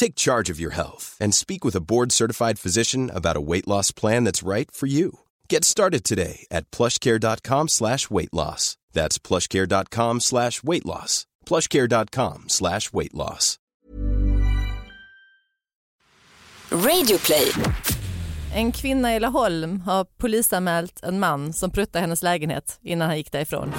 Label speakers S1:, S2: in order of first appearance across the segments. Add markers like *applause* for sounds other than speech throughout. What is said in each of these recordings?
S1: Take charge of your health and speak with a board certified physician about a weight loss plan that's right for you. Get started today at plushcare.com slash weight loss. That's plushcare.com slash weight loss. Plushcare.com slash weight loss.
S2: Radioplay.
S3: En kvinna i Laholm har polisanmält en man som pruttade hennes lägenhet innan han gick därifrån.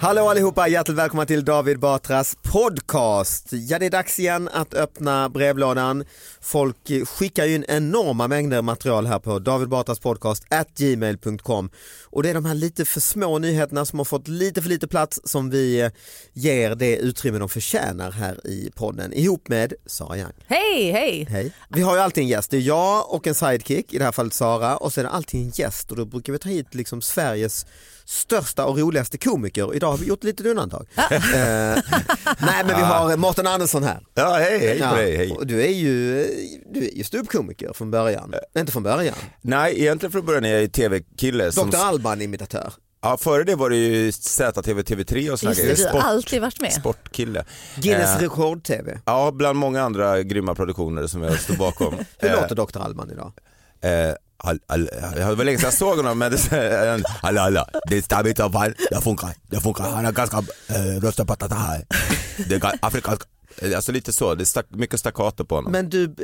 S4: Hallå allihopa, hjärtligt välkomna till David Batras podcast. Ja, det är dags igen att öppna brevlådan. Folk skickar ju in enorma mängder material här på David Batras podcast at gmail.com och det är de här lite för små nyheterna som har fått lite för lite plats som vi ger det utrymme de förtjänar här i podden ihop med Sara Young.
S3: Hej, hej!
S4: Hej. Vi har ju alltid en gäst, det är jag och en sidekick, i det här fallet Sara, och sen är det alltid en gäst och då brukar vi ta hit liksom Sveriges största och roligaste komiker. Idag har vi gjort lite undantag.
S5: Ah.
S4: Eh, nej men vi har Mårten Andersson här.
S5: Ja, hej, Ah. hej på dig. Hej.
S4: och du är ju, du är ju ståuppkomiker från början.
S5: Eh.
S4: Inte från början.
S5: Nej, egentligen från början är jag ju tv-kille. Som...
S4: Dr. Alban-imitatör.
S5: Ja, före det var det ju ZTV, TV3 och sådana
S3: Just det, du har alltid varit med.
S5: Sportkille.
S4: Guinness
S5: Eh,
S4: rekord-tv.
S5: Ja, bland många andra grymma produktioner som jag står bakom.
S3: *laughs*
S4: Hur
S5: Eh,
S4: låter Dr. Alban idag?
S5: Eh, all, all, jag var länge sedan jag såg honom men det är en- alla alla, det stämmer inte fan, det funkar, det funkar, han har ganska eh, röstad patata här. Det är ga- afrikansk, Eh, alltså lite så, det är stack, mycket staccato på honom.
S4: Men du,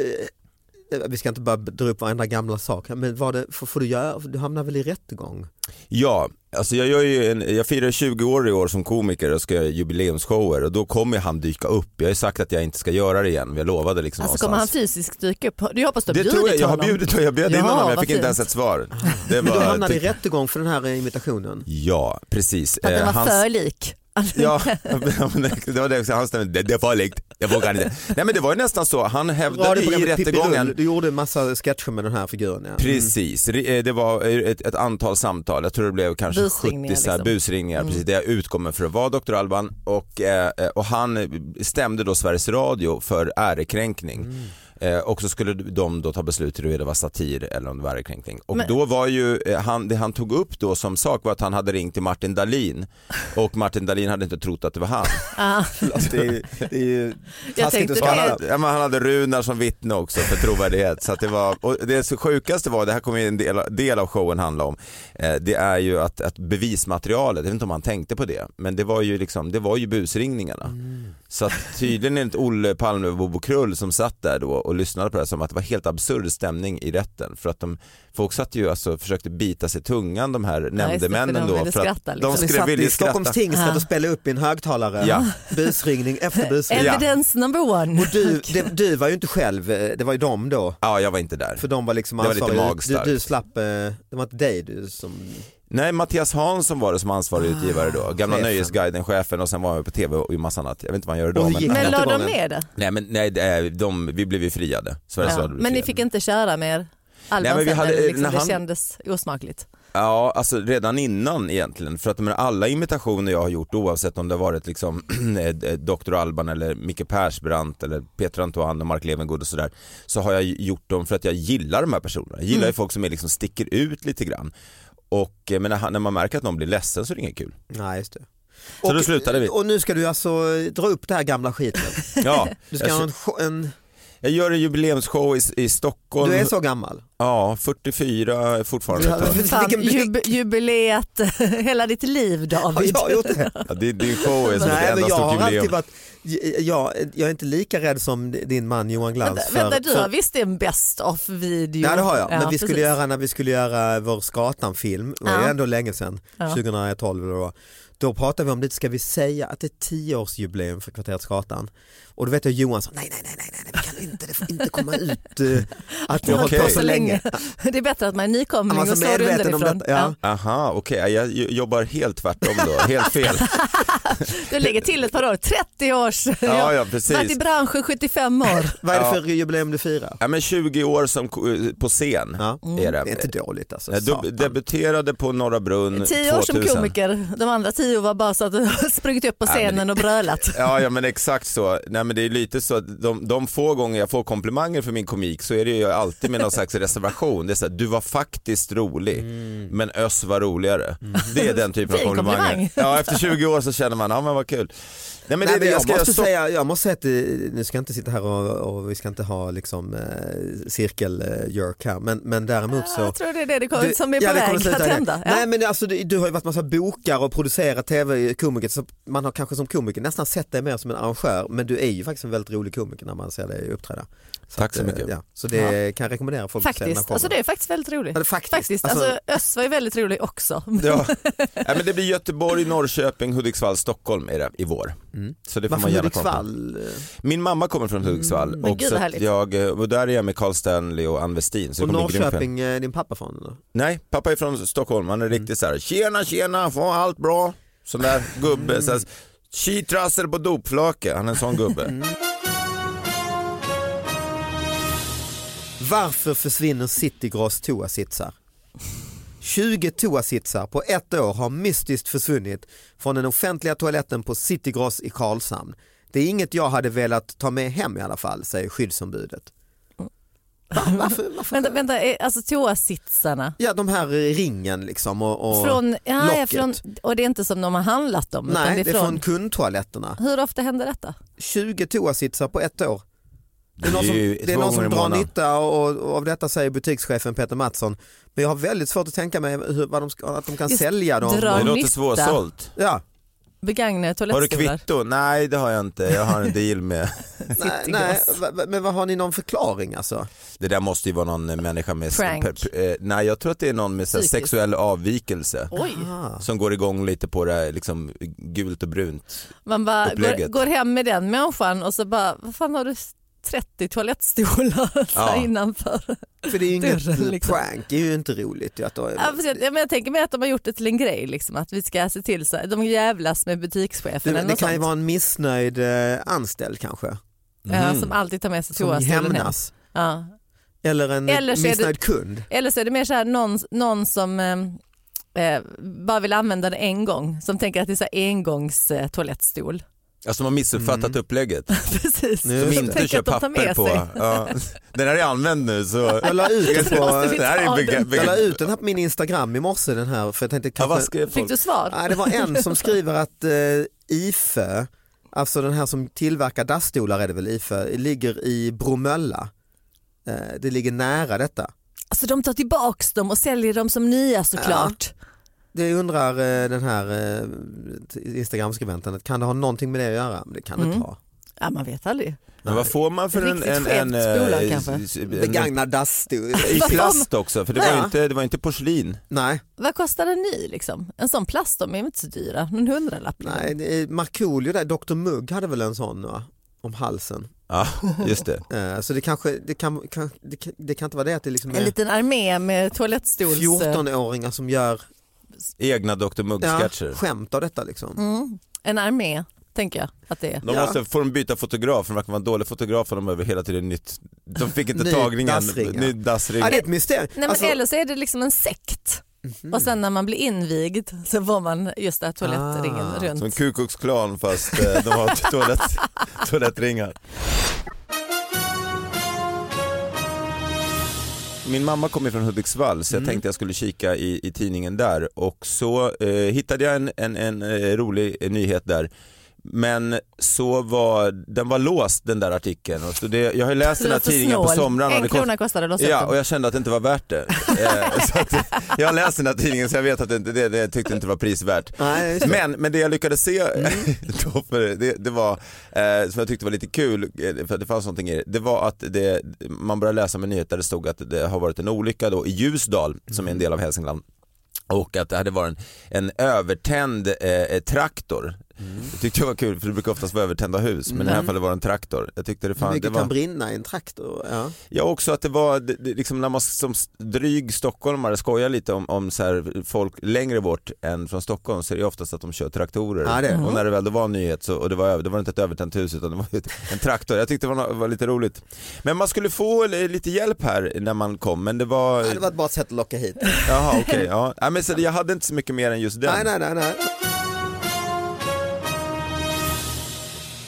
S4: eh, vi ska inte bara dra upp varenda gamla sak, här, men vad det, får, får du göra, du hamnar väl i rättegång?
S5: Ja, alltså jag, gör ju en, jag firar 20 år i år som komiker och ska göra jubileumsshower och då kommer han dyka upp. Jag har ju sagt att jag inte ska göra det igen, men jag lovade liksom
S3: Alltså kommer han
S5: någonstans.
S3: fysiskt dyka upp? Du hoppas du har
S5: det
S3: bjudit
S5: tror jag, jag har
S3: honom?
S5: bjudit honom, jag bjöd in
S3: Ja,
S5: honom, jag
S3: vad
S5: fick
S3: fint.
S5: inte ens ett svar. Det
S4: Men du
S5: var,
S4: hamnade i rättegång för den här eh, imitationen?
S5: ja, precis.
S3: För att
S5: Eh,
S3: den var
S5: hans-
S3: för lik.
S5: *laughs* Ja, men det det var det också, han stämde, det, det är farligt, jag vågar inte. Nej men det var ju nästan så, han hävdade i
S4: Radioprogrammet Pippi
S5: rättegången
S4: Rull, Du gjorde massa sketcher med den här figuren ja.
S3: Mm.
S5: Precis, Re- eh, det var eh, ett, ett antal samtal, jag tror det blev kanske
S3: Busringningar,
S5: 70 så här,
S3: liksom.
S5: busringningar, precis, där jag utkommer för att vara Dr. Alban och, eh, eh, och han eh, stämde då Sveriges Radio för ärekränkning.
S3: Mm.
S5: Eh, och så skulle de då ta beslut huruvida det var satir eller om det var ärekränkning. Och
S3: Men-
S5: då var ju, eh, han, det han tog upp då som sak var att han hade ringt till Martin
S3: *laughs*
S5: Dahlin och Martin Dahlin hade inte trott att det var han.
S3: Ah,
S5: *laughs* Alltså, det är, ju- det är ju
S3: jag
S4: Taskigt
S3: tänkte
S4: att
S5: och han,
S4: svara.
S3: det.
S5: hade, ja, men han hade Runar som vittne också för trovärdighet. Så att det, var, och det så sjukaste var, det här kommer ju en del, del av showen handla om, eh, det är ju att, att bevismaterialet, jag vet inte om han tänkte på det, men det var ju, liksom, det var ju busringningarna. Så att tydligen enligt Olle Palme och Bobo Krull som satt där då och lyssnade på det här som att det var helt absurd stämning i rätten. För att de, folk satt ju alltså försökte bita sig i tungan de här nämndemännen
S3: de
S5: då.
S3: ville
S5: för att
S3: skratta,
S5: de
S3: liksom.
S4: Ni
S5: skulle
S4: satt i
S5: vilja
S4: Stockholms
S5: skratta.
S4: tingsrätt och spelade upp i en högtalare,
S5: Ja.
S4: busringning efter busringning.
S5: Ja.
S3: Evidence number one.
S4: Och
S3: *laughs*
S4: du, det, du var ju inte själv, eh, det var ju dem då.
S5: Ja, jag var inte där.
S4: För de var liksom
S5: Det var lite
S4: ansvariga.
S5: magstarkt.
S4: du, du slapp, eh, det var inte dig du som
S5: Nej, Mattias Hansson var det som ansvarig utgivare då. Gamla
S4: chefen.
S5: Nöjesguiden, chefen och sen var han ju på tv och i massa annat. Jag vet inte vad han gör idag.
S4: Och
S5: men,
S4: gick-
S3: Men la de
S4: Rättegången.
S3: med det?
S5: nej, men nej, det är- de, vi blev ju friade. Sveriges
S3: Ja.
S5: Radio blev
S3: Men ni
S5: friade.
S3: fick inte köra med er?
S5: Nej,
S3: Alban
S5: men vi
S3: sen,
S5: hade-
S3: eller liksom,
S5: när
S3: det
S5: han- *laughs*
S3: kändes osmakligt.
S5: Ja, alltså redan innan egentligen. För att men, alla imitationer jag har gjort oavsett om det har varit liksom *clears throat* Dr. Alban eller Micke Persbrandt eller Peter Antoine och Mark Levengood och sådär. Så har jag gjort dem för att jag gillar de här personerna. Jag gillar
S4: Mm.
S5: ju folk som är, liksom, sticker ut lite grann. Och eh, men när, när man märker att någon blir ledsen så är det inget kul.
S4: Nej, just det.
S5: Så då slutade vi.
S4: Och nu ska du alltså dra upp det här gamla skiten.
S5: Ja,
S4: *laughs* Du ska
S5: jag,
S4: ha en, show- en...
S5: jag gör en jubileumsshow i, i Stockholm.
S4: Du är så gammal.
S5: Ja, 44 fortfarande. tror jag.
S3: Fan,
S4: Vilken blick.
S3: jub, jubileet, *laughs* hela ditt liv
S4: Har
S3: David.
S4: jag gjort det?
S5: Ja, din, din show är som ett
S4: Nej,
S5: enda
S4: men jag
S5: stort
S4: har
S5: jubileum.
S4: alltid varit, jag, jag är inte lika rädd som din man Johan Glans.
S3: Vänta,
S4: för-
S5: alltså,
S3: vänta, du
S4: för-
S3: har visst en best of video?
S4: Ja det har jag, men
S3: Ja,
S4: vi skulle
S3: precis.
S4: göra, när vi skulle göra vår Skatan-film, det var
S3: Ja.
S4: ändå länge sedan, 2012 eller vad det var. Då pratade vi om det, ska vi säga att det är tioårsjubileum för kvarteret Skatan? Och då vet jag Johan sa, nej nej nej nej, nej vi kan inte, det får inte komma ut
S3: *laughs*
S4: eh, att vi har hållit på
S5: Okej.
S4: så länge.
S3: Det är bättre att man är nykomling
S4: Man är
S3: och
S4: så
S3: slår
S4: medveten om
S3: underifrån.
S4: detta. Ja.
S5: Aha, okej. Jag j- jobbar helt tvärtom då. Helt
S4: *laughs*
S5: fel.
S3: Du lägger till ett par år, 30 års.
S5: Ja, ja,
S3: Varit i
S5: precis.
S3: branschen 75 år.
S4: Vad är det för jubileum du firar?
S5: Ja, men 20 år som ko- eh, på scen
S4: Ja.
S5: är
S4: Det är
S5: det.
S4: inte dåligt alltså.
S5: Jag dub-
S4: satan.
S5: debuterade på Norra Brunn
S3: 10 år som
S5: 2000.
S3: komiker, de andra 10 var bara så att *laughs* du har sprungit upp på
S5: men det-
S3: scenen
S4: *laughs*
S3: och brölat.
S5: Ja, ja men exakt så. Nej, men det är lite så att de, de få gånger jag får komplimanger för min komik så är det ju alltid med någon slags reservation. Det är så här, du var faktiskt rolig
S4: Mm.
S5: men Öss var roligare. Det är den typen av
S3: Fin
S5: komplimanger.
S3: komplimang.
S5: Ja, efter 20 år så känner man, ja men vad kul. Nej, men
S4: Nej,
S5: det är det
S4: men jag,
S5: ska
S4: måste
S5: stå-
S4: säga, jag måste säga att det- nu ska jag inte sitta här och, och vi ska inte ha liksom, eh, cirkeljörk här men, men däremot så
S3: Ah, Jag tror det är det, det kommer,
S4: Du,
S3: som är
S4: ja,
S3: på
S4: det kommer
S3: väg
S4: sluta
S3: att
S4: i det.
S3: hända. Ja.
S4: Nej, men alltså, du, du har ju varit massa bokare och producerat tv-komiker så man har kanske som komiker nästan sett dig mer som en arrangör men du är ju faktiskt en väldigt rolig komiker när man ser dig uppträda.
S5: Tack så
S4: eh,
S5: mycket.
S4: Ja, så det kan jag rekommendera folk att se
S3: Faktiskt,
S4: den här
S3: alltså
S4: showen.
S3: det är faktiskt väldigt roligt.
S4: Ja, det- faktiskt.
S3: Faktiskt.
S4: Alltså-
S3: Alltså, Öss var ju väldigt rolig också.
S5: Ja. Nej, men det blir Göteborg, Norrköping, Hudiksvall, Stockholm är det i vår. Så det får
S4: Mm. Varför
S5: man gärna kolla på.
S4: Hudiksvall? Mm.
S5: Min mamma kommer från Hudiksvall
S3: Men
S5: och,
S3: gud,
S5: så
S3: vad
S5: att
S3: härligt.
S5: jag, eh, och där är jag med Carl Stanley och Ann Westin. Så det
S4: Och
S5: kommer bli grymt.
S4: Norrköping, eh, din pappa från? eller?
S5: Nej, pappa är från Stockholm. Han är
S3: Mm.
S5: riktigt så här, tjena tjena, får allt bra? Sån
S3: *laughs*
S5: där gubbe. Så
S3: Mm.
S5: här, Tjitrassel på dopflake, han är en sån gubbe.
S4: Varför försvinner Citygross toasitsar? 20 toasitsar på ett år har mystiskt försvunnit från den offentliga toaletten på Citygross i Karlshamn. Det är inget jag hade velat ta med hem i alla fall, säger skyddsombudet.
S3: *laughs* vänta, vänta, eh, alltså toasitsarna.
S4: Ja, de här eh, ringen liksom och, och
S3: Från, ja, ja,
S4: locket.
S3: från, och det är inte som de har handlat dem. utan
S4: Nej, det är från
S3: från,
S4: kundtoaletterna.
S3: Hur ofta händer detta?
S4: 20 toasitsar på ett år. Det är någon
S5: Det
S4: som,
S5: är ju
S4: det är
S5: två gånger
S4: någon som
S5: i
S4: drar
S5: månaden.
S4: nytta och, och av detta säger butikschefen Peter Mattsson. Men jag har väldigt svårt att tänka mig hur, vad de ska, att de kan
S3: Just
S4: sälja dem.
S3: dra-
S5: Det
S3: Har
S5: låter
S3: nytta.
S5: svårsålt.
S4: Ja.
S3: Begagnade
S5: Har du
S3: toalettstolar?
S5: kvitto? Nej det har jag inte, jag har en
S3: *laughs*
S5: deal med. *laughs*
S4: Nej, nej, va- va- men vad har ni någon förklaring alltså?
S5: Det där måste ju vara någon eh, människa med...
S3: Prank.
S5: eh, nej jag tror att det är någon med så här,
S3: Psykisk.
S5: sexuell avvikelse.
S3: Oj,
S5: som går igång lite på det här liksom, gult och brunt.
S3: man bara går,
S5: Upplägget.
S3: går hem med den människan och så bara, vad fan har du 30 toalettstolar så
S5: Ja.
S3: här innanför?
S4: För
S3: *laughs*
S4: det är ju inget
S3: Dörren, liksom.
S4: prank, det är ju inte roligt. ju Att då,
S3: Ja, precis. Ja, men jag tänker mig att de har gjort det till en grej, liksom, att vi ska se till så de jävlas med
S4: det,
S3: butikschefen eller
S4: det
S3: något
S4: kan ju
S3: sånt,
S4: vara en missnöjd eh, anställd kanske,
S3: Ja, som alltid tar med sig
S4: Mm. som
S3: toastolen hem.
S4: hämnas.
S3: Ja.
S4: Eller en
S3: Eller så är det-
S4: missnöjd kund.
S3: Eller så är det mer så här, någon, någon som eh, eh, bara vill använda den en gång, som tänker att det är så här engångs eh,
S4: *laughs*
S3: toalettstol.
S5: Alltså man har missuppfattat
S3: Mm.
S5: upplägget.
S3: Precis.
S5: Som
S4: Just det.
S5: inte
S3: Tänk
S5: kör
S3: att de tar med
S5: papper på.
S3: sig.
S5: Ja. Den här är använd nu så.
S4: Jag la ut
S5: *laughs*
S4: den på,
S3: vi
S5: Det här
S3: ta
S5: är bega-
S3: den?
S4: jag la
S5: bega-
S4: ut den här på min Instagram i morse den här för jag tänkte
S5: ja,
S4: kanske...
S5: vad skrev
S3: Fick
S5: folk?
S3: du svar?
S4: Nej, det var en som skriver att eh, IFE, alltså den här som tillverkar dassstolar är det väl IFE, ligger i Bromölla. Eh, det ligger nära detta.
S3: Alltså de tar tillbaks dem och säljer dem som nya såklart.
S4: Det undrar eh, den här eh, Instagram-skribenten, att kan det ha någonting med det att göra? Men det kan det
S3: Mm.
S4: inte ha.
S3: Ja, man vet aldrig.
S5: Men vad får man för en,
S3: Riktigt
S5: en,
S3: skevt
S5: en, eh,
S3: spolar,
S5: s-
S3: kanske.
S5: s- en-
S4: Begagnad
S3: *laughs*
S4: dassstol.
S5: I plast också, för det var
S4: Ja.
S5: ju inte, det var inte
S4: *laughs*
S5: porslin.
S4: nej,
S3: Vad kostar en ny liksom? En sån plast, de är ju inte så dyra, någon hundralapp. liksom.
S4: nej, det är Markoolio där, Dr Mugg hade väl en sån va? om halsen.
S5: Ja, just det.
S4: Eh, så det kanske, det kan, kan, det, kan, det kan inte vara det att det liksom
S3: En
S4: är
S3: liten armé med toalettstols...
S4: 14-åringar som gör
S5: Egna Dr
S4: ja,
S5: Mugg-sketcher.
S4: skämt av detta liksom.
S3: Mm. En armé, tänker jag att det är.
S5: De
S4: Ja.
S5: måste, får de byta fotograf, för de verkar vara en dålig fotograf och de behöver hela tiden nytt. De fick inte
S4: Ny
S5: tagningen,
S4: dassring, ja.
S5: ny dassring.
S4: Ja, det är ett mysterium.
S3: Nej, men
S4: Alltså,
S3: eller så är det liksom en sekt
S5: Mhm.
S3: Och sen när man blir invigd så får man just det här toalettringen
S4: Ah,
S3: runt.
S5: Som Ku Klux Klan fast eh, de har *laughs* toalett, toalettringar. Min mamma kommer från Hudiksvall så jag tänkte jag skulle kika i, i tidningen där och så eh, hittade jag en, en, en eh, rolig eh, nyhet där. Men så var, den var låst den där artikeln. Och så det, jag har ju läst den här
S3: Lite
S5: tidningen på
S3: snål.
S5: somrarna. och
S3: En
S5: det kost-
S3: krona kostade det att
S5: Ja,
S3: sätta.
S5: och jag kände att det inte var värt
S4: *laughs*
S5: det. Eh, så att, *laughs* jag har läst den här tidningen så jag vet att det, inte- det, det tyckte inte var prisvärt.
S4: Nej, just det. Mm.
S5: Men, men det jag lyckades se *laughs* då för det, det var, eh, som jag tyckte var lite kul, eh, för att det fanns någonting i det, det var att det, man började läsa med nyheter där det stod att det har varit en olycka då i Ljusdal som är
S4: Mm.
S5: en del av Hälsingland och att det hade varit en, en övertänd eh, traktor.
S4: Mm.
S5: Det tyckte jag var kul för det brukar oftast vara övertända hus men i det här fallet var det en traktor. Jag tyckte det,
S4: Hur
S5: fan, det
S4: mycket
S5: var...
S4: kan brinna i en traktor? Ja.
S5: Ja också att det var, det, det, liksom när man som s- dryg stockholmare skojar lite om, om så här, folk längre bort än från Stockholm så är det ju oftast att de kör traktorer.
S4: Ja, det är det.
S5: Och när det väl då var en nyhet så, och det var, över- det var inte ett övertänt hus utan det var ett- en traktor. Jag tyckte det var, no- var lite roligt. Men man skulle få li- lite hjälp här när man kom men det var...
S4: Ja, Det var bara ett sätt att locka hit.
S5: Jaha okej, ja. Nej, men så, jag hade inte så mycket mer än just den.
S4: Nej, nej, nej, nej.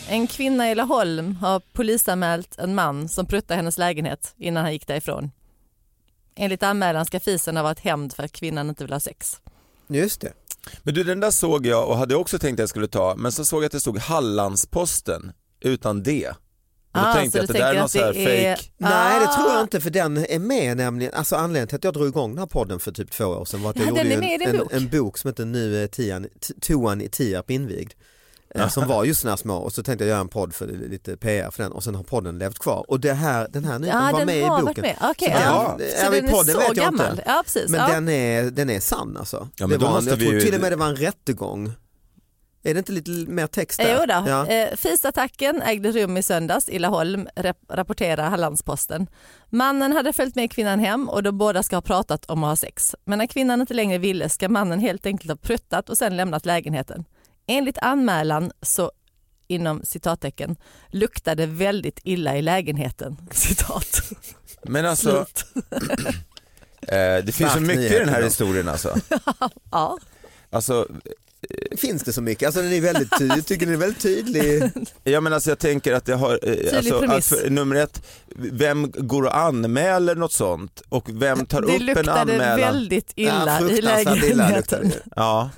S3: En kvinna i Laholm har polisanmält en man som pruttade hennes lägenhet innan han gick därifrån. Enligt anmälan ska fisen ha varit hämnd för att kvinnan inte vill ha sex.
S4: Just det.
S5: Men du den där såg jag och hade också tänkt att jag skulle ta men så såg jag att det stod Hallandsposten utan det. Och då
S3: Ah,
S5: tänkte
S3: så
S5: jag att
S3: du
S5: det där är
S3: tänker
S5: någon
S3: att
S5: så här
S3: det är-
S5: fake.
S4: Nej det
S3: Ah.
S4: tror jag inte för den är med nämligen, alltså anledningen till att jag drog igång den här podden för typ två år sedan var att jag
S3: Ja,
S4: gjorde
S3: den är
S4: ju
S3: med i
S4: en,
S3: din
S4: en,
S3: bok.
S4: en bok som heter Nu är tian, t- toan i Tierp invigd. eh, Som var just sådana små och så tänkte jag göra en podd för lite PR för den och sen har podden levt kvar och det här, den här nyheten
S3: Ja,
S4: var
S3: den
S4: med i
S3: har
S4: boken.
S3: varit med. Okej,
S4: Så
S3: ja.
S4: den-
S3: Så
S4: även i
S3: den är
S4: podden
S3: så
S4: vet jag inte.
S3: gammal. Ja, precis.
S4: Men
S3: Ja.
S4: den, är, den är sann alltså.
S5: Ja, men
S4: det
S5: då
S4: var, en-
S5: måste
S4: jag
S5: vi
S4: tror
S5: ju-
S4: till och med det var en rättegång. Är det inte lite mer text där?
S3: Jo då.
S4: Ja.
S3: Eh, Fisattacken ägde rum i söndags i Laholm, rep- rapporterar Hallandsposten. Mannen hade följt med kvinnan hem och de båda ska ha pratat om att ha sex. Men när kvinnan inte längre ville ska mannen helt enkelt ha pruttat och sen lämnat lägenheten. Enligt anmälan så inom citattecken luktade väldigt illa i lägenheten. *laughs* Citat.
S5: Men alltså,
S3: Slut.
S5: Eh, det finns så
S4: Stark
S5: mycket i
S4: nyhet
S5: den här
S4: idag.
S5: historien alltså.
S3: Ja.
S5: *laughs* alltså
S4: Finns det så mycket? Alltså den är väldigt tydlig,
S3: *laughs*
S4: jag tycker den är väldigt tydlig.
S5: ja, men alltså jag tänker att det har, eh, alltså, att
S3: premiss.
S5: för, nummer ett, vem går och anmäler något sånt och vem tar
S3: Det
S5: upp en
S3: luktade
S5: anmälan?
S3: väldigt illa i
S4: fruktansvärt illa liksom. luktar
S3: lägenheten.
S4: det.
S5: Ja,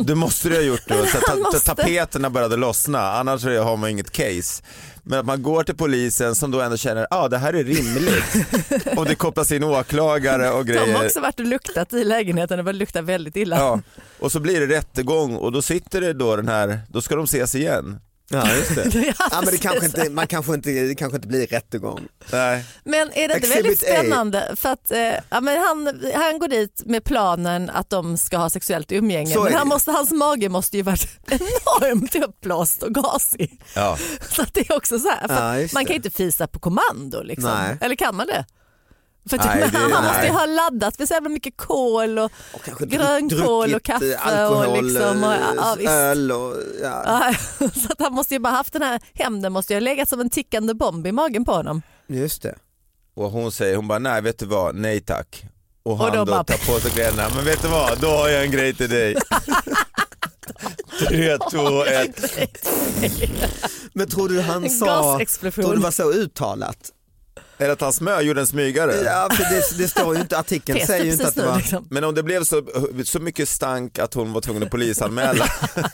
S5: det måste du ha gjort
S3: *laughs*
S5: då. Så att ta,
S3: han måste-
S5: Tapeterna började lossna, annars är- har man inget case. Men att man går till polisen som då ändå känner, ja ah, det här är rimligt.
S3: *laughs*
S5: och det kopplas in åklagare och
S3: De
S5: grejer.
S3: har också varit och luktat i lägenheten och det luktar väldigt illa. *laughs*
S5: Ja, och så blir det rättegång och då sitter det då den här, då ska de ses igen.
S4: Ja, just
S3: *laughs*
S4: det.
S3: Ja,
S4: Ja, men det
S3: precis.
S4: kanske inte, man kanske inte, det kanske inte blir rättegång.
S5: Nej.
S3: Men är det inte
S4: Exhibit
S3: väldigt
S4: A.
S3: spännande? För att, eh, ja, men han, han går dit med planen att de ska ha sexuellt umgänge
S4: Så är
S3: men
S4: det.
S3: han måste, hans mage måste ju varit *laughs* enormt uppblåst och gasig.
S5: Ja.
S3: Så att det är också så här, för
S4: Ja,
S3: att
S4: just
S3: man kan
S4: det.
S3: ju inte fisa på kommando liksom.
S4: Nej.
S3: Eller kan man det? För att,
S5: Nej,
S3: men
S5: det-
S3: han måste
S5: nej.
S3: ju ha laddat med så jävla mycket kol och,
S4: Och kanske dru-
S3: grönkål och
S4: druckit,
S3: kaffe
S4: eh, alkohol,
S3: och liksom. Och, ja, ja,
S4: eh,
S3: visst.
S4: öl och ja,
S3: Ja, *laughs* så att han måste ju bara haft den här hämnden måste ju ha legat som en tickande bomb i magen på honom.
S4: just det.
S5: Och hon säger, hon bara nej vet du vad, nej tack. Och han
S3: Och
S5: då,
S3: då bara-
S5: tar på sig kläderna, men vet du vad, då har jag en grej till dig. Tre, två, ett.
S4: Men tror du han
S3: En
S4: sa,
S3: gasexplosion.
S4: tror du det var så uttalat?
S5: Eller att han smö gjorde en smygare.
S4: Ja, för det, det står ju inte, artikeln
S3: Fes det
S4: säger ju inte
S3: precis
S4: att det
S3: nu,
S4: var,
S3: liksom.
S5: Men om det blev så, så mycket stank att hon var tvungen att polisanmäla,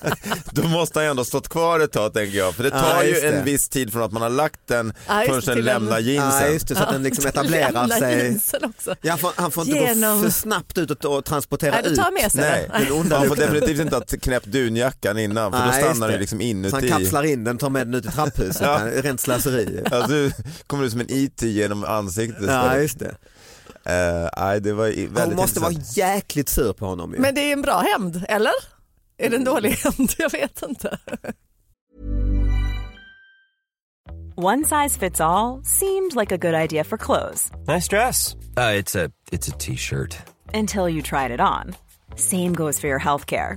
S5: *laughs* då måste han ju ändå ha stått kvar ett tag tänker jag. För det
S4: Ja,
S5: tar ju
S4: just det.
S5: en viss tid från att man har lagt den
S3: Ja, just
S5: förrän
S3: det,
S5: den
S3: till den-
S5: lämnar jeansen.
S4: ja, just det, så att den liksom
S3: *laughs*
S4: etablerar
S3: Lämna
S4: sig.
S3: jeansen också.
S4: Ja, han får- han får inte
S3: Genom-
S4: gå för snabbt ut och, och transportera
S3: Nej, du
S4: ut.
S3: tar med sig
S5: Nej,
S3: den.
S4: Den onda
S5: man får
S4: lukten.
S5: definitivt inte ha knäppt dunjackan innan för då
S4: Nej, just
S5: stannar
S4: det.
S5: den liksom
S4: Så han
S5: inuti.
S4: kapslar in den, tar med den ut i trapphuset.
S5: Ja.
S4: Rent slöseri.
S5: Alltså, du kommer ut som en IT genom ansiktet.
S4: Ja, just det.
S5: Eh, nej, det var i- väldigt
S4: Hon måste vara
S5: intressant.
S4: jäkligt sur på honom ju.
S3: Men det är en bra hämnd, eller? Är det en dålig hämnd? Jag vet inte.
S6: One size fits all seemed like a good idea for clothes
S7: Nice dress. Uh, it's a it's a t-shirt.
S6: until you tried it on. Same goes for your healthcare.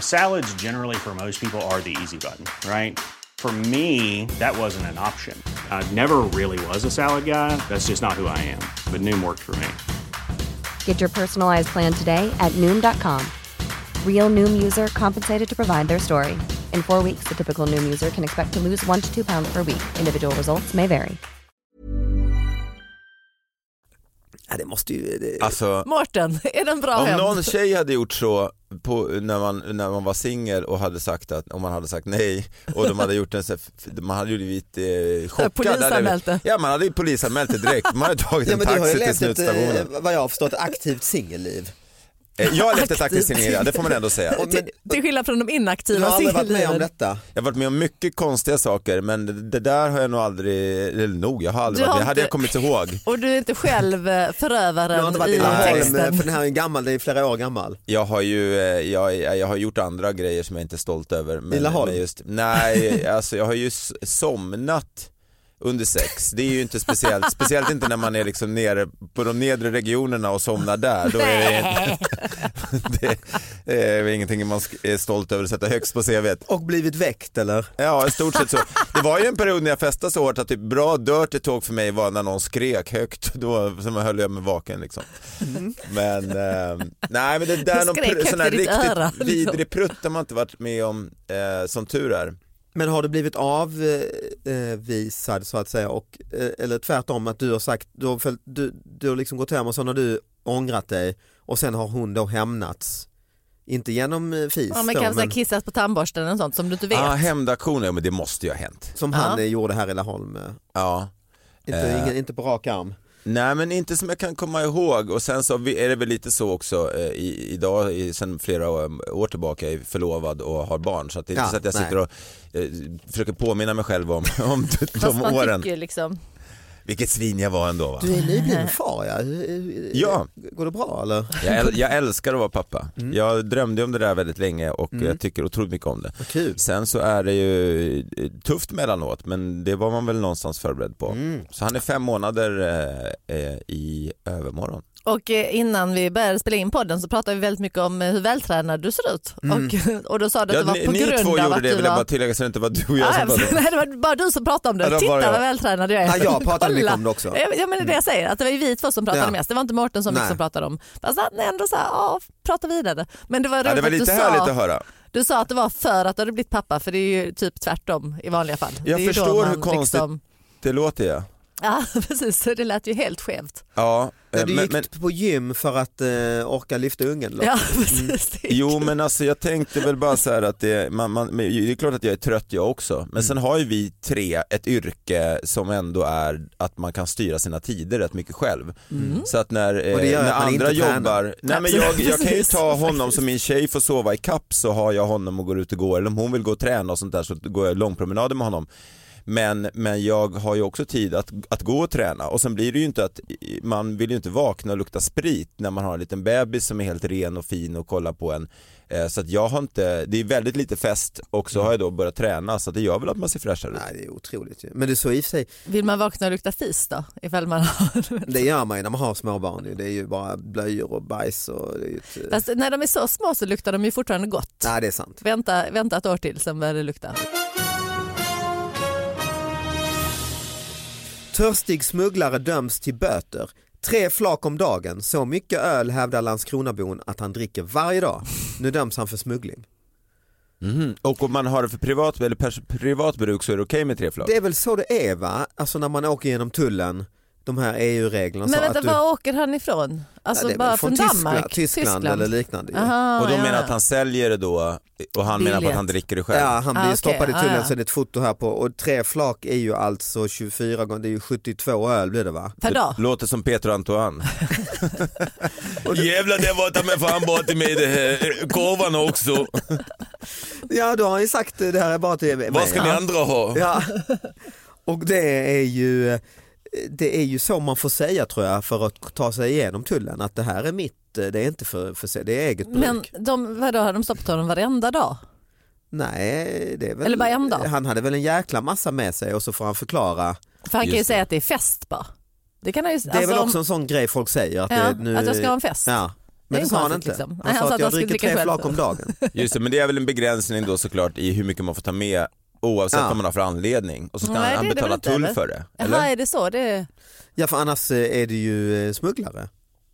S8: Salads, generally, for most people, are the easy button, right? For me, that wasn't an option. I never really was a salad guy. That's just not who I am. But Noom worked for me.
S9: Get your personalized plan today at Noom.com. Real Noom user compensated to provide their story. In four weeks, the typical Noom user can expect to lose one to two pounds per week. Individual results may vary.
S4: Ja, det måste ju... Det...
S5: Alltså,
S3: Mårten, är den bra
S5: om
S3: hämnd?
S5: någon tjej hade gjort så på, när, man, när man var singel och hade sagt att om man hade sagt nej och de hade gjort en så här- f- man hade ju blivit eh, chockad.
S3: polisanmält det.
S5: Ja man hade ju polisanmält det direkt, man hade tagit
S4: Ja,
S5: en
S4: men du har ju
S5: taxi till
S4: levt ett,
S5: slutstationen.
S4: eh, vad jag har förstått, aktivt *laughs* singelliv.
S5: Eh, Jag har levt ett aktivt
S3: aktivt.
S5: singelliv, ja, det får man ändå säga.
S4: *laughs* Och- men-
S3: Till skillnad från de
S4: Du har
S3: inaktiva
S4: aldrig varit med om
S3: singelliven.
S4: detta?
S5: Jag har varit med om mycket konstiga saker men det- det där har jag nog aldrig, eller nog, jag har aldrig
S3: Du
S5: varit
S3: har
S5: det, hade jag
S3: inte-
S5: kommit ihåg.
S3: Och du är inte själv eh,
S4: Du har inte
S3: förövaren
S4: varit i
S3: i
S4: Laholm, eh,
S3: texten.
S4: för den här är gammal, det är flera år gammal.
S5: Jag har ju, eh, jag, jag har gjort andra grejer som jag inte är stolt över. Men,
S4: I Laholm?
S5: men just, nej, *laughs* alltså jag har ju s- somnat under sex, det är ju inte speciellt, speciellt inte när man är liksom nere på de nedre regionerna och somnar där. Då är det, inte- *laughs* det är väl ingenting man sk- är stolt över att sätta högst på CVt.
S4: Och blivit väckt eller?
S5: Ja, i stort sett så. Det var ju en period när jag festade så hårt att typ bra dirty talk för mig var när någon skrek högt. Då som höll jag mig vaken liksom. Men, eh, nej men det där är någon
S3: Mm.
S5: pr-
S3: Skrek högt
S5: sån här
S3: i ditt
S5: riktigt
S3: öra, liksom.
S5: vidrig prutt har man inte varit med om eh, som tur är.
S4: Men har du blivit avvisad så att säga och, eh, eller tvärtom att du har sagt, du har, följt, du, du har liksom gått hem och sen har du ångrat dig och sen har hon då hämnats. Inte genom eh, fis
S3: Ja, men
S4: då, men
S3: kanske men... kissat på tandborsten eller sånt som du inte vet.
S5: Ah, hämndaktioner, ja, men det måste ju ha hänt.
S4: som han eh, gjorde här i Laholm. eh.
S5: Ja.
S4: Inte,
S5: Eh.
S4: ingen, inte på rak arm.
S5: Nej men inte som jag kan komma ihåg och sen så vi- är det väl lite så också eh, i, idag i, sen flera um, år, år tillbaka är jag förlovad och har barn så att det är inte
S4: Ja,
S5: så att jag
S4: nej.
S5: sitter och eh, försöker påminna mig själv om, *laughs* om de,
S3: Fast
S5: de
S3: man
S5: åren.
S3: tycker ju liksom,
S5: Vilket svin jag var ändå va.
S4: Du är
S3: *laughs*
S4: nybliven far ja. Hur- hur-
S5: Ja.
S4: Går det bra eller?
S5: Jag, äl- jag älskar att vara pappa.
S4: Mm.
S5: Jag drömde om det där väldigt länge och jag tycker otroligt mycket om det.
S4: Vad kul.
S5: Sen så är det ju eh, tufft mellanåt men det var man väl någonstans förberedd på.
S4: Mm.
S5: Så han är fem månader eh, eh, i övermorgon.
S3: och eh, innan vi började spela in podden så pratade vi väldigt mycket om eh, hur vältränad du ser ut. Och, *laughs* och då sa du att
S5: Ja,
S3: det var
S5: ni,
S3: på
S5: ni
S3: grund
S5: två
S3: av
S5: gjorde
S3: att
S5: det
S3: du
S5: vill jag
S3: var...
S5: bara tillägga så det inte var du och jag
S3: Ja, alltså,
S5: som
S3: *laughs*
S5: pratade om det.
S3: nej, det var bara du som pratade om det.
S5: Ja, det var bara
S3: Titta
S5: jag.
S3: vad vältränad jag är.
S4: Ja, jag pratade mycket om det också.
S3: Ja, men- Ja, men det är det jag säger, att det var ju vi två som pratade
S4: Ja.
S3: mest. Det var inte Mårten som
S4: Nej.
S3: liksom pratade om. Fast han ändå så här, ja, prata vidare. Men det var roligt
S5: Ja, det var
S3: att du
S5: lite
S3: sa...
S5: härligt att höra.
S3: Du sa att det var för att du hade blivit pappa för det är ju typ tvärtom i vanliga fall.
S5: Jag
S3: det är ju då
S5: förstår
S3: man liksom-
S5: hur konstigt- Det låter jag.
S3: Ja *laughs* precis, så det lät ju helt skevt.
S5: Ja, eh,
S4: Men du
S5: men-
S4: gick
S5: men-
S4: på gym för att eh, orka lyfta ungen? eller?
S3: Ja, precis. Det-
S5: Jo men alltså jag tänkte väl bara så här att det, man, man, men det är klart att jag är trött jag också, men sen
S3: Mm.
S5: har ju vi tre ett yrke som ändå är att man kan styra sina tider rätt mycket själv.
S3: Mm.
S5: Så att när, eh,
S4: Och det gör
S5: när
S4: att man
S5: andra
S4: inte tränar.
S5: jobbar, nej men jag, jag kan ju
S3: *laughs*
S5: ta honom som min tjej får sova i kapp så har jag honom och går ut och går, eller om hon vill gå och träna och sånt där så går jag långpromenader med honom. Men, men jag har ju också tid att, att gå och träna och sen blir det ju inte att man vill ju inte vakna och lukta sprit när man har en liten bebis som är helt ren och fin och kollar på en. Eh, Så att jag har inte, det är väldigt lite fest och så har jag då börjat träna så att det gör väl att man ser fräschare ut.
S4: Nej det är otroligt ju. Men det är så i och för sig,
S3: Vill man vakna och lukta fis då? Ifall man har...
S4: det gör man ju när man har småbarn ju. Det är ju bara blöjor och bajs och det är ju ett, eh,
S3: Fast när de är så små så luktar de ju fortfarande gott.
S4: Nej det är sant.
S3: Vänta, vänta ett år till sen börjar det lukta.
S4: Törstig smugglare döms till böter. Tre flak om dagen, så mycket öl hävdar Landskronabon att han dricker varje dag. Nu döms han för smuggling.
S5: Och om man har det för privat, eller pers- privat bruk så är det okej med tre flak.
S4: Det är väl så det är va? Alltså när man åker genom tullen, de här EU-reglerna. så
S3: Men vänta,
S4: att du-
S3: var åker han ifrån?
S4: Ja,
S3: Alltså
S4: det är väl
S3: bara från,
S4: Tyskland,
S3: Danmark?
S4: Tyskland, eller liknande. ju.
S3: Aha,
S5: Och de
S3: Ah, ja,
S5: menar
S3: ja.
S5: att han säljer det då och han menar på att
S3: Billigt.
S5: han dricker det själv.
S4: Ja, han blir
S3: Ah, okej.
S4: stoppad i
S3: Ah,
S4: tullen
S3: ja.
S4: så är det ett foto här på och tre flak är ju alltså 24 gånger, det är ju 72 öl blir det va?
S3: Per dag?
S5: Låter som Peter
S3: *laughs*
S5: Antoine. Jävlar det var ta mig fan bort i mig det här korvan också.
S4: *laughs* Ja du har ju sagt det här är bara till mig.
S5: andra ha?
S4: Ja. *laughs* Och det är ju det är ju så man får säga tror jag för att ta sig igenom tullen att det här är mitt inte, det är inte för, för sig, det är eget bruk.
S3: Men de, vadå, har de stoppat honom varenda dag?
S4: Nej, det är väl,
S3: Eller bara en dag?
S4: han hade väl en jäkla massa med sig och så får han förklara.
S3: För han kan ju
S4: Just
S3: säga att det är fest bara. Det, kan han ju,
S4: Det är väl också en sån grej folk säger. Att,
S3: Alltså, Ja,
S4: det, nu,
S3: att jag ska ha en fest.
S4: Ja.
S3: Det är
S4: Men det,
S3: ju
S4: sa han inte.
S3: konstigt, liksom.
S4: Han, sa att,
S3: han
S4: jag
S3: skulle
S4: dricker
S3: dricka
S4: tre
S3: själv.
S4: flak om dagen.
S5: Just det, men det är väl en begränsning då såklart i hur mycket man får ta med oavsett vad man har för anledning. Och så ska
S3: Nej,
S5: han,
S3: det är
S5: han
S3: det
S5: betala
S3: väl inte,
S5: tull
S3: eller?
S5: för det.
S3: Jaha, är det så? Det,
S4: Ja för annars eh, är det ju eh, smugglare.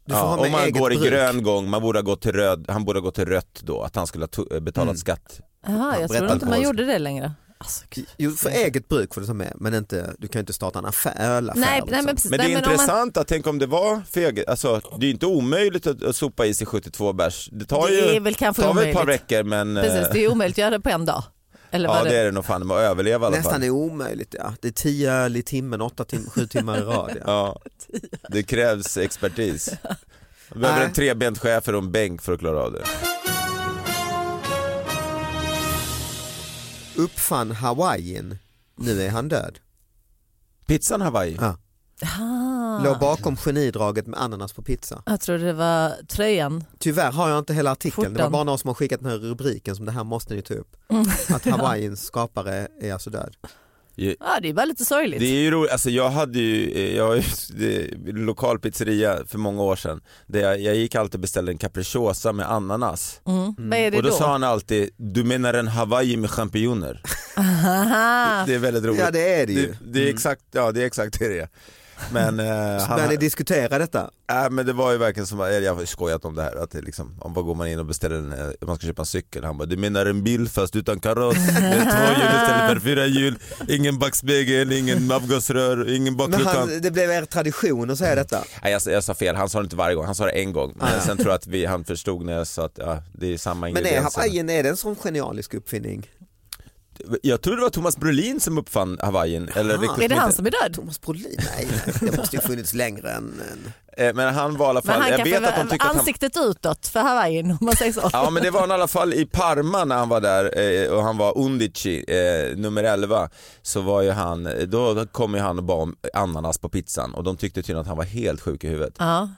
S4: Du får
S5: Ja,
S4: ha med
S5: om man
S4: eget
S5: går i
S4: bruk.
S5: grön gång, man borde ha gått till röd, han borde ha gått till rött då, att han skulle ha to- eh, betalat
S4: Mm.
S5: skatt.
S3: jaha, jag trodde
S4: berättar
S3: inte
S4: inte
S3: man
S4: vad-
S3: gjorde det längre. Alltså,
S4: Jo, för
S5: Mm.
S4: eget bruk får du ta med men inte, du kan ju inte starta en affär. ölaffär,
S3: Nej,
S4: liksom.
S3: nej, men precis.
S5: alltså. Men det är
S3: nej, men om man,
S5: intressant att tänk om det var för eget, alltså det är ju inte omöjligt att, att sopa i sig 72 bärs. Det tar
S3: Det
S5: ju
S3: är väl kanske
S5: tar väl ett par
S3: omöjligt.
S5: veckor men
S3: precis,
S5: eh,
S3: det är omöjligt att göra det på en dag. Eller
S5: ja
S3: vad
S5: det är det nog fan med att överleva i alla
S4: Nästan
S5: fall.
S4: är omöjligt ja. Det är tio öl i timmen, åtta tim sju timmar i rad. Ja.
S5: *laughs* Ja, det krävs
S3: *laughs*
S5: expertis. Jag behöver
S4: Nej.
S5: en trebent schäfer och en bänk för att klara av det.
S4: Uppfann hawaiiin, nu är han död.
S5: Pizzan Hawaii?
S4: Ja. Låg bakom genidraget med ananas på pizza.
S3: Jag trodde det var tröjan.
S4: Tyvärr har jag inte hela artikeln, det var
S3: Skjortan.
S4: bara någon som har skickat den här rubriken som det här måste ni ta upp.
S3: Mm. *laughs*
S4: Att hawaiiens skapare är alltså död.
S3: Ja, det är bara lite sorgligt.
S5: Det är ju roligt, alltså jag hade ju, eh, jag har ju *laughs* det, lokal pizzeria för många år sedan där jag, jag gick alltid och beställde en capricciosa med ananas
S3: Mm. Vad är det
S5: och då,
S3: då?
S5: sa han alltid du menar en hawaii med champinjoner.
S3: Aha.
S5: Det är väldigt roligt.
S4: Ja det är det ju. Mm.
S5: det, det är exakt, ja det är exakt det det är. Men, eh, han,
S4: När ni diskuterar detta,
S5: äh, men det var ju verkligen som, eller jag har skojat om det här, att det liksom, om vad går man in och beställer en, eh, man ska köpa en cykel, han bara du menar en bil fast utan kaross, med två hjul istället för fyra hjul, ingen backspegel, ingen avgasrör, ingen
S4: men
S5: baklucka.
S4: han, det blev er tradition att
S3: Mm.
S4: säga detta.
S5: Nej, jag, jag sa fel, han sa det inte varje gång, han sa det en gång. Men sen tror jag att vi, han förstod när jag sa att ja, det är samma
S4: Ah. Men är
S5: ingredienser.
S4: hawaiiin är det en sån genialisk uppfinning?
S5: Jag tror det var Thomas Brolin som uppfann hawaiiin. Eller vilket
S3: Är det
S5: som
S3: han
S5: inte-
S3: som är död?
S4: Ah. Thomas Brolin, nej, nej det måste ju funnits längre än... än.
S5: Eh, Men han var i alla
S3: Men
S5: fall,
S3: han
S5: jag
S3: kan
S5: vet att de
S3: för,
S5: tyckte att han...
S3: ansiktet utåt för hawaiiin om man säger så.
S5: Ja men det var han i alla fall i Parma när han var där eh, och han var Undici, eh, nummer 11, så var ju han, då kom ju han och bad om ananas på pizzan och de tyckte tydligen att han var helt sjuk i huvudet.
S3: Ja.
S4: Eh,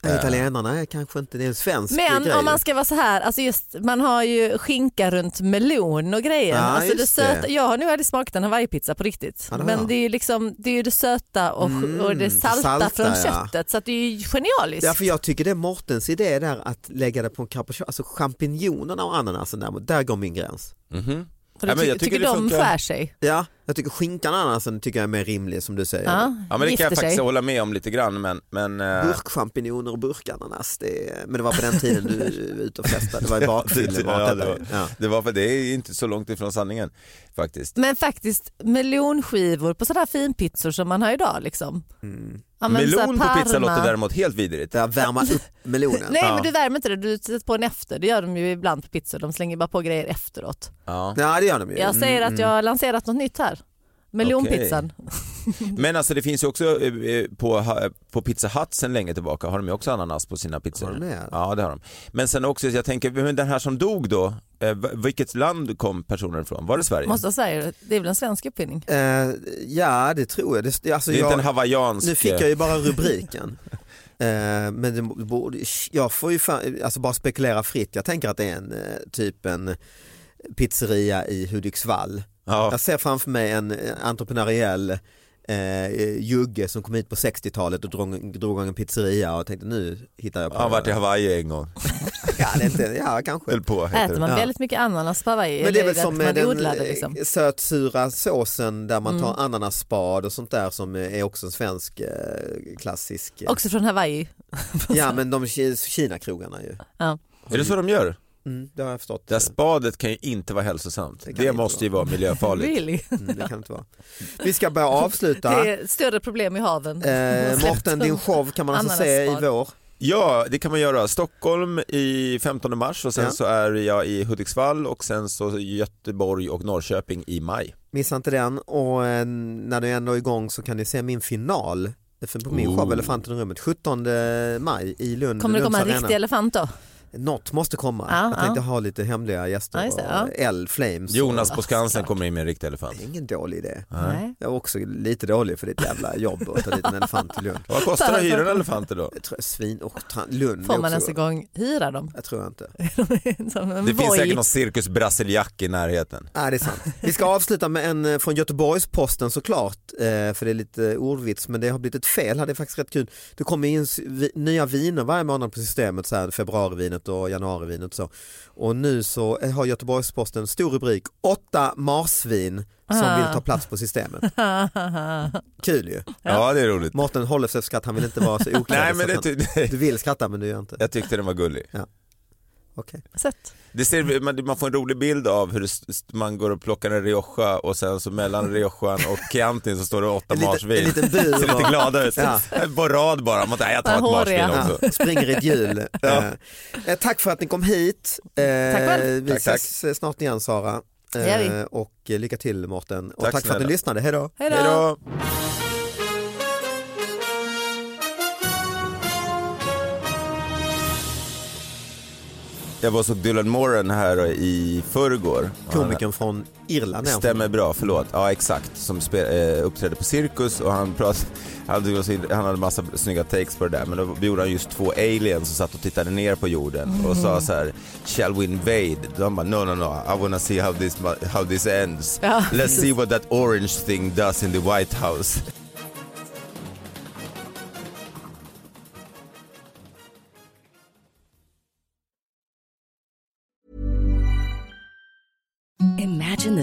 S4: Italienarna är kanske inte, det är en svensk
S3: Men
S4: grej.
S3: om man ska vara så här, alltså just, man har ju skinka runt melon och grejer.
S4: Ja,
S3: alltså det
S4: just
S3: söta,
S4: det.
S3: Jag har nu aldrig smakat en hawaiipizza på riktigt.
S4: Ja, det har
S3: men
S4: jag.
S3: det är ju liksom, det, är ju det söta och, och det
S4: det
S3: salta,
S4: salta,
S3: från
S4: ja.
S3: köttet. Så att det är ju genialiskt.
S4: Därför jag tycker det är Mortens idé där att lägga det på en capricciosa, alltså champinjonerna och ananasen däremot, där går min gräns.
S5: Mhm.
S3: För
S5: Ja,
S3: du
S5: men
S3: ty-
S5: jag tycker
S3: tycker
S5: det
S3: de
S5: funkar.
S3: skär sig.
S4: Ja, jag tycker skinkan och ananasen tycker jag är mer rimlig som du säger.
S3: Ja,
S5: Ja men det kan
S3: gifter
S5: jag faktiskt
S3: sig.
S5: hålla med om lite grann men, men eh,
S4: Burkchampinjoner och burkananas, det är, men det var på den
S5: *laughs*
S4: tiden du var ute och festade, det var i *laughs* bakfyllen.
S5: Ja,
S4: Ja,
S5: det var-
S4: ja.
S5: Det var för det är inte så långt ifrån sanningen faktiskt.
S3: Men faktiskt melonskivor på sådana här finpizzor som man har idag. Liksom. Ja, men så här
S5: Melon på pizza
S3: Parma.
S5: låter däremot helt vidrigt.
S4: Där värma upp melonen.
S3: Nej men du värmer inte det, du sätter på en efter. Det gör de ju ibland på pizzor, de slänger bara på grejer efteråt.
S5: Ja.
S4: Ja det gör de ju. Mm.
S3: Jag säger att jag har lanserat något nytt här. Melonpizzan.
S5: Men alltså det finns ju också eh, eh, på, ha- på Pizza Hut sen länge tillbaka har de ju också ananas på sina pizzor.
S4: Har de det?
S5: Ja det har de. Men sen också, jag tänker, men den här som dog då, eh, v- vilket land kom personen ifrån? Var det Sverige?
S3: Måste jag säga, det är väl en svensk uppfinning?
S4: Eh, ja det tror jag. Det, alltså,
S5: det är
S4: jag
S5: inte en hawaiiansk... eh,
S4: nu fick jag ju bara rubriken. *laughs* Eh, men det borde, jag får ju fan, alltså bara spekulera fritt. Jag tänker att det är en eh, typ en pizzeria i Hudiksvall.
S5: Ja.
S4: Jag ser framför mig en eh, entreprenöriell eh, jugge som kom hit på 60-talet och drog, drog igång en pizzeria och tänkte nu hittar jag på
S5: Han
S4: det.
S5: varit i Hawaii en gång,
S4: ja, det är inte, ja, kanske.
S5: höll på heter
S3: Äter man
S4: Ja.
S3: väldigt mycket ananas på Hawaii?
S4: Men det är väl
S3: eller
S4: som
S3: att
S4: med
S3: man
S4: den
S3: odlar det liksom? Mm.
S4: eh, sötsura såsen där man tar ananasspad och sånt där som eh, är också en svensk eh, klassisk. eh,
S3: Också från Hawaii.
S4: Ja men de ki- Kina-krogarna ju.
S3: Ja.
S5: det. Är det så de gör?
S4: Mm, det har jag förstått.
S5: Det här spadet kan ju inte vara hälsosamt. Det,
S4: kan inte
S5: måste ju vara miljöfarligt.
S3: Really?
S4: Mm, det kan inte vara. Vi ska börja avsluta.
S3: *laughs* Det är ett större problem i haven.
S4: Eh, Morten, din show kan man alltså se i
S3: Ananasspad.
S4: vår.
S5: Ja, det kan man göra. Stockholm i 15 mars och sen
S4: Ja.
S5: så är jag i Hudiksvall och sen så Göteborg och Norrköping i maj.
S4: Missa inte den och eh, när du ändå är igång så kan ni se min final för- på min
S5: Ooh.
S4: show Elefanten i rummet 17 maj i Lund.
S3: Kommer det komma en
S4: Lunds arena.
S3: riktig elefant då?
S4: Något måste komma.
S3: Ja,
S4: jag tänkte
S3: ja.
S4: ha lite hemliga
S3: Ja,
S4: gäster.
S3: just det,
S4: och
S3: ja.
S4: L, Flames.
S5: Jonas
S4: och-
S5: på Skansen kommer in med en riktig elefant.
S4: Det är ingen dålig idé.
S5: Nej.
S4: Jag är också lite dålig för ditt jävla jobb att ta dit en elefant till Lund.
S5: *laughs* Vad kostar det att hyra en elefant då?
S4: Jag tror svin och tran- Lund
S3: Får
S4: är
S3: man ens
S4: också...
S3: en gång hyra dem? *laughs*
S4: Jag tror inte.
S3: Som en
S5: Det finns
S3: voj. *laughs*
S5: säkert någon cirkus brasiliak i närheten.
S4: Nej, det är sant. Vi ska avsluta med en eh, från Göteborgs-Posten såklart, eh, för det är lite ordvits, men det har blivit ett fel här, det är faktiskt rätt kul. Det kommer in s- vi- nya viner varje månad på systemet, så här, februarivinet och januarivinet och så. Och nu så eh, har Göteborgs-Posten en stor rubrik, åtta marsvin som
S3: Ah.
S4: vill ta plats på systemet. Kul ju.
S5: Ja, det är roligt.
S4: Mårten håller sig för skratt, han vill
S5: *laughs*
S4: inte vara så oklädd.
S5: Nej,
S4: så
S5: men det typ-
S4: att han,
S5: ty-
S4: *laughs* du vill skratta men du gör inte.
S5: jag tyckte den var gullig.
S4: Okej.
S3: Sött.
S5: Det ser, man, man får en rolig bild av hur det, st- man går och plockar en Rioja och sen så mellan Riojan och Chiantin så står det åtta
S4: En liten-
S5: marsvin.
S4: en liten
S5: *laughs*
S4: bur
S5: ser lite
S4: bara.
S5: glada ut.
S4: Ja.
S5: En borad bara, man tar, jag tar ett
S3: Håriga.
S5: marsvin också.
S4: Ja, springer i ett hjul. Eh, tack för att ni kom hit. Eh,
S3: själv.
S4: vi
S5: Tack, tack.
S4: ses eh, snart igen Sara.
S3: Det gör vi.
S4: och eh, lycka till Mårten. Och
S5: Tack
S4: tack, för att ni
S5: snälla.
S4: lyssnade. Hej då.
S3: Hej då.
S5: Hej då. Jag var så Dylan Moran här i förrgår.
S4: Komikern från Irland. är han.
S5: Stämmer bra, förlåt. Ja exakt, som spe, eh, uppträdde på Cirkus och han, prat, han, tyckte det var så in- han hade massa snygga takes på det där men då gjorde han just två aliens som satt och tittade ner på jorden och
S4: Mm.
S5: sa så här “Shall we invade?” De bara “No, no, no, I wanna see how this, mu- how this ends.
S3: Ja.
S5: Let's see what that orange thing does in the White House”.
S2: Imagine the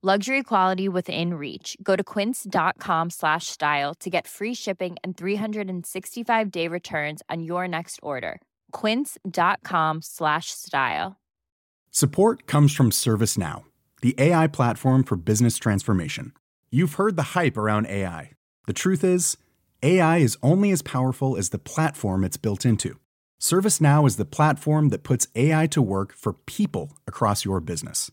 S10: Luxury quality within reach. Go to quince.com slash style to get free shipping and 365 day returns on your next order. Quince.com slash style.
S11: Support comes from ServiceNow, the AI platform for business transformation. You've heard the hype around AI. The truth is, AI is only as powerful as the platform it's built into. ServiceNow is the platform that puts AI to work for people across your business,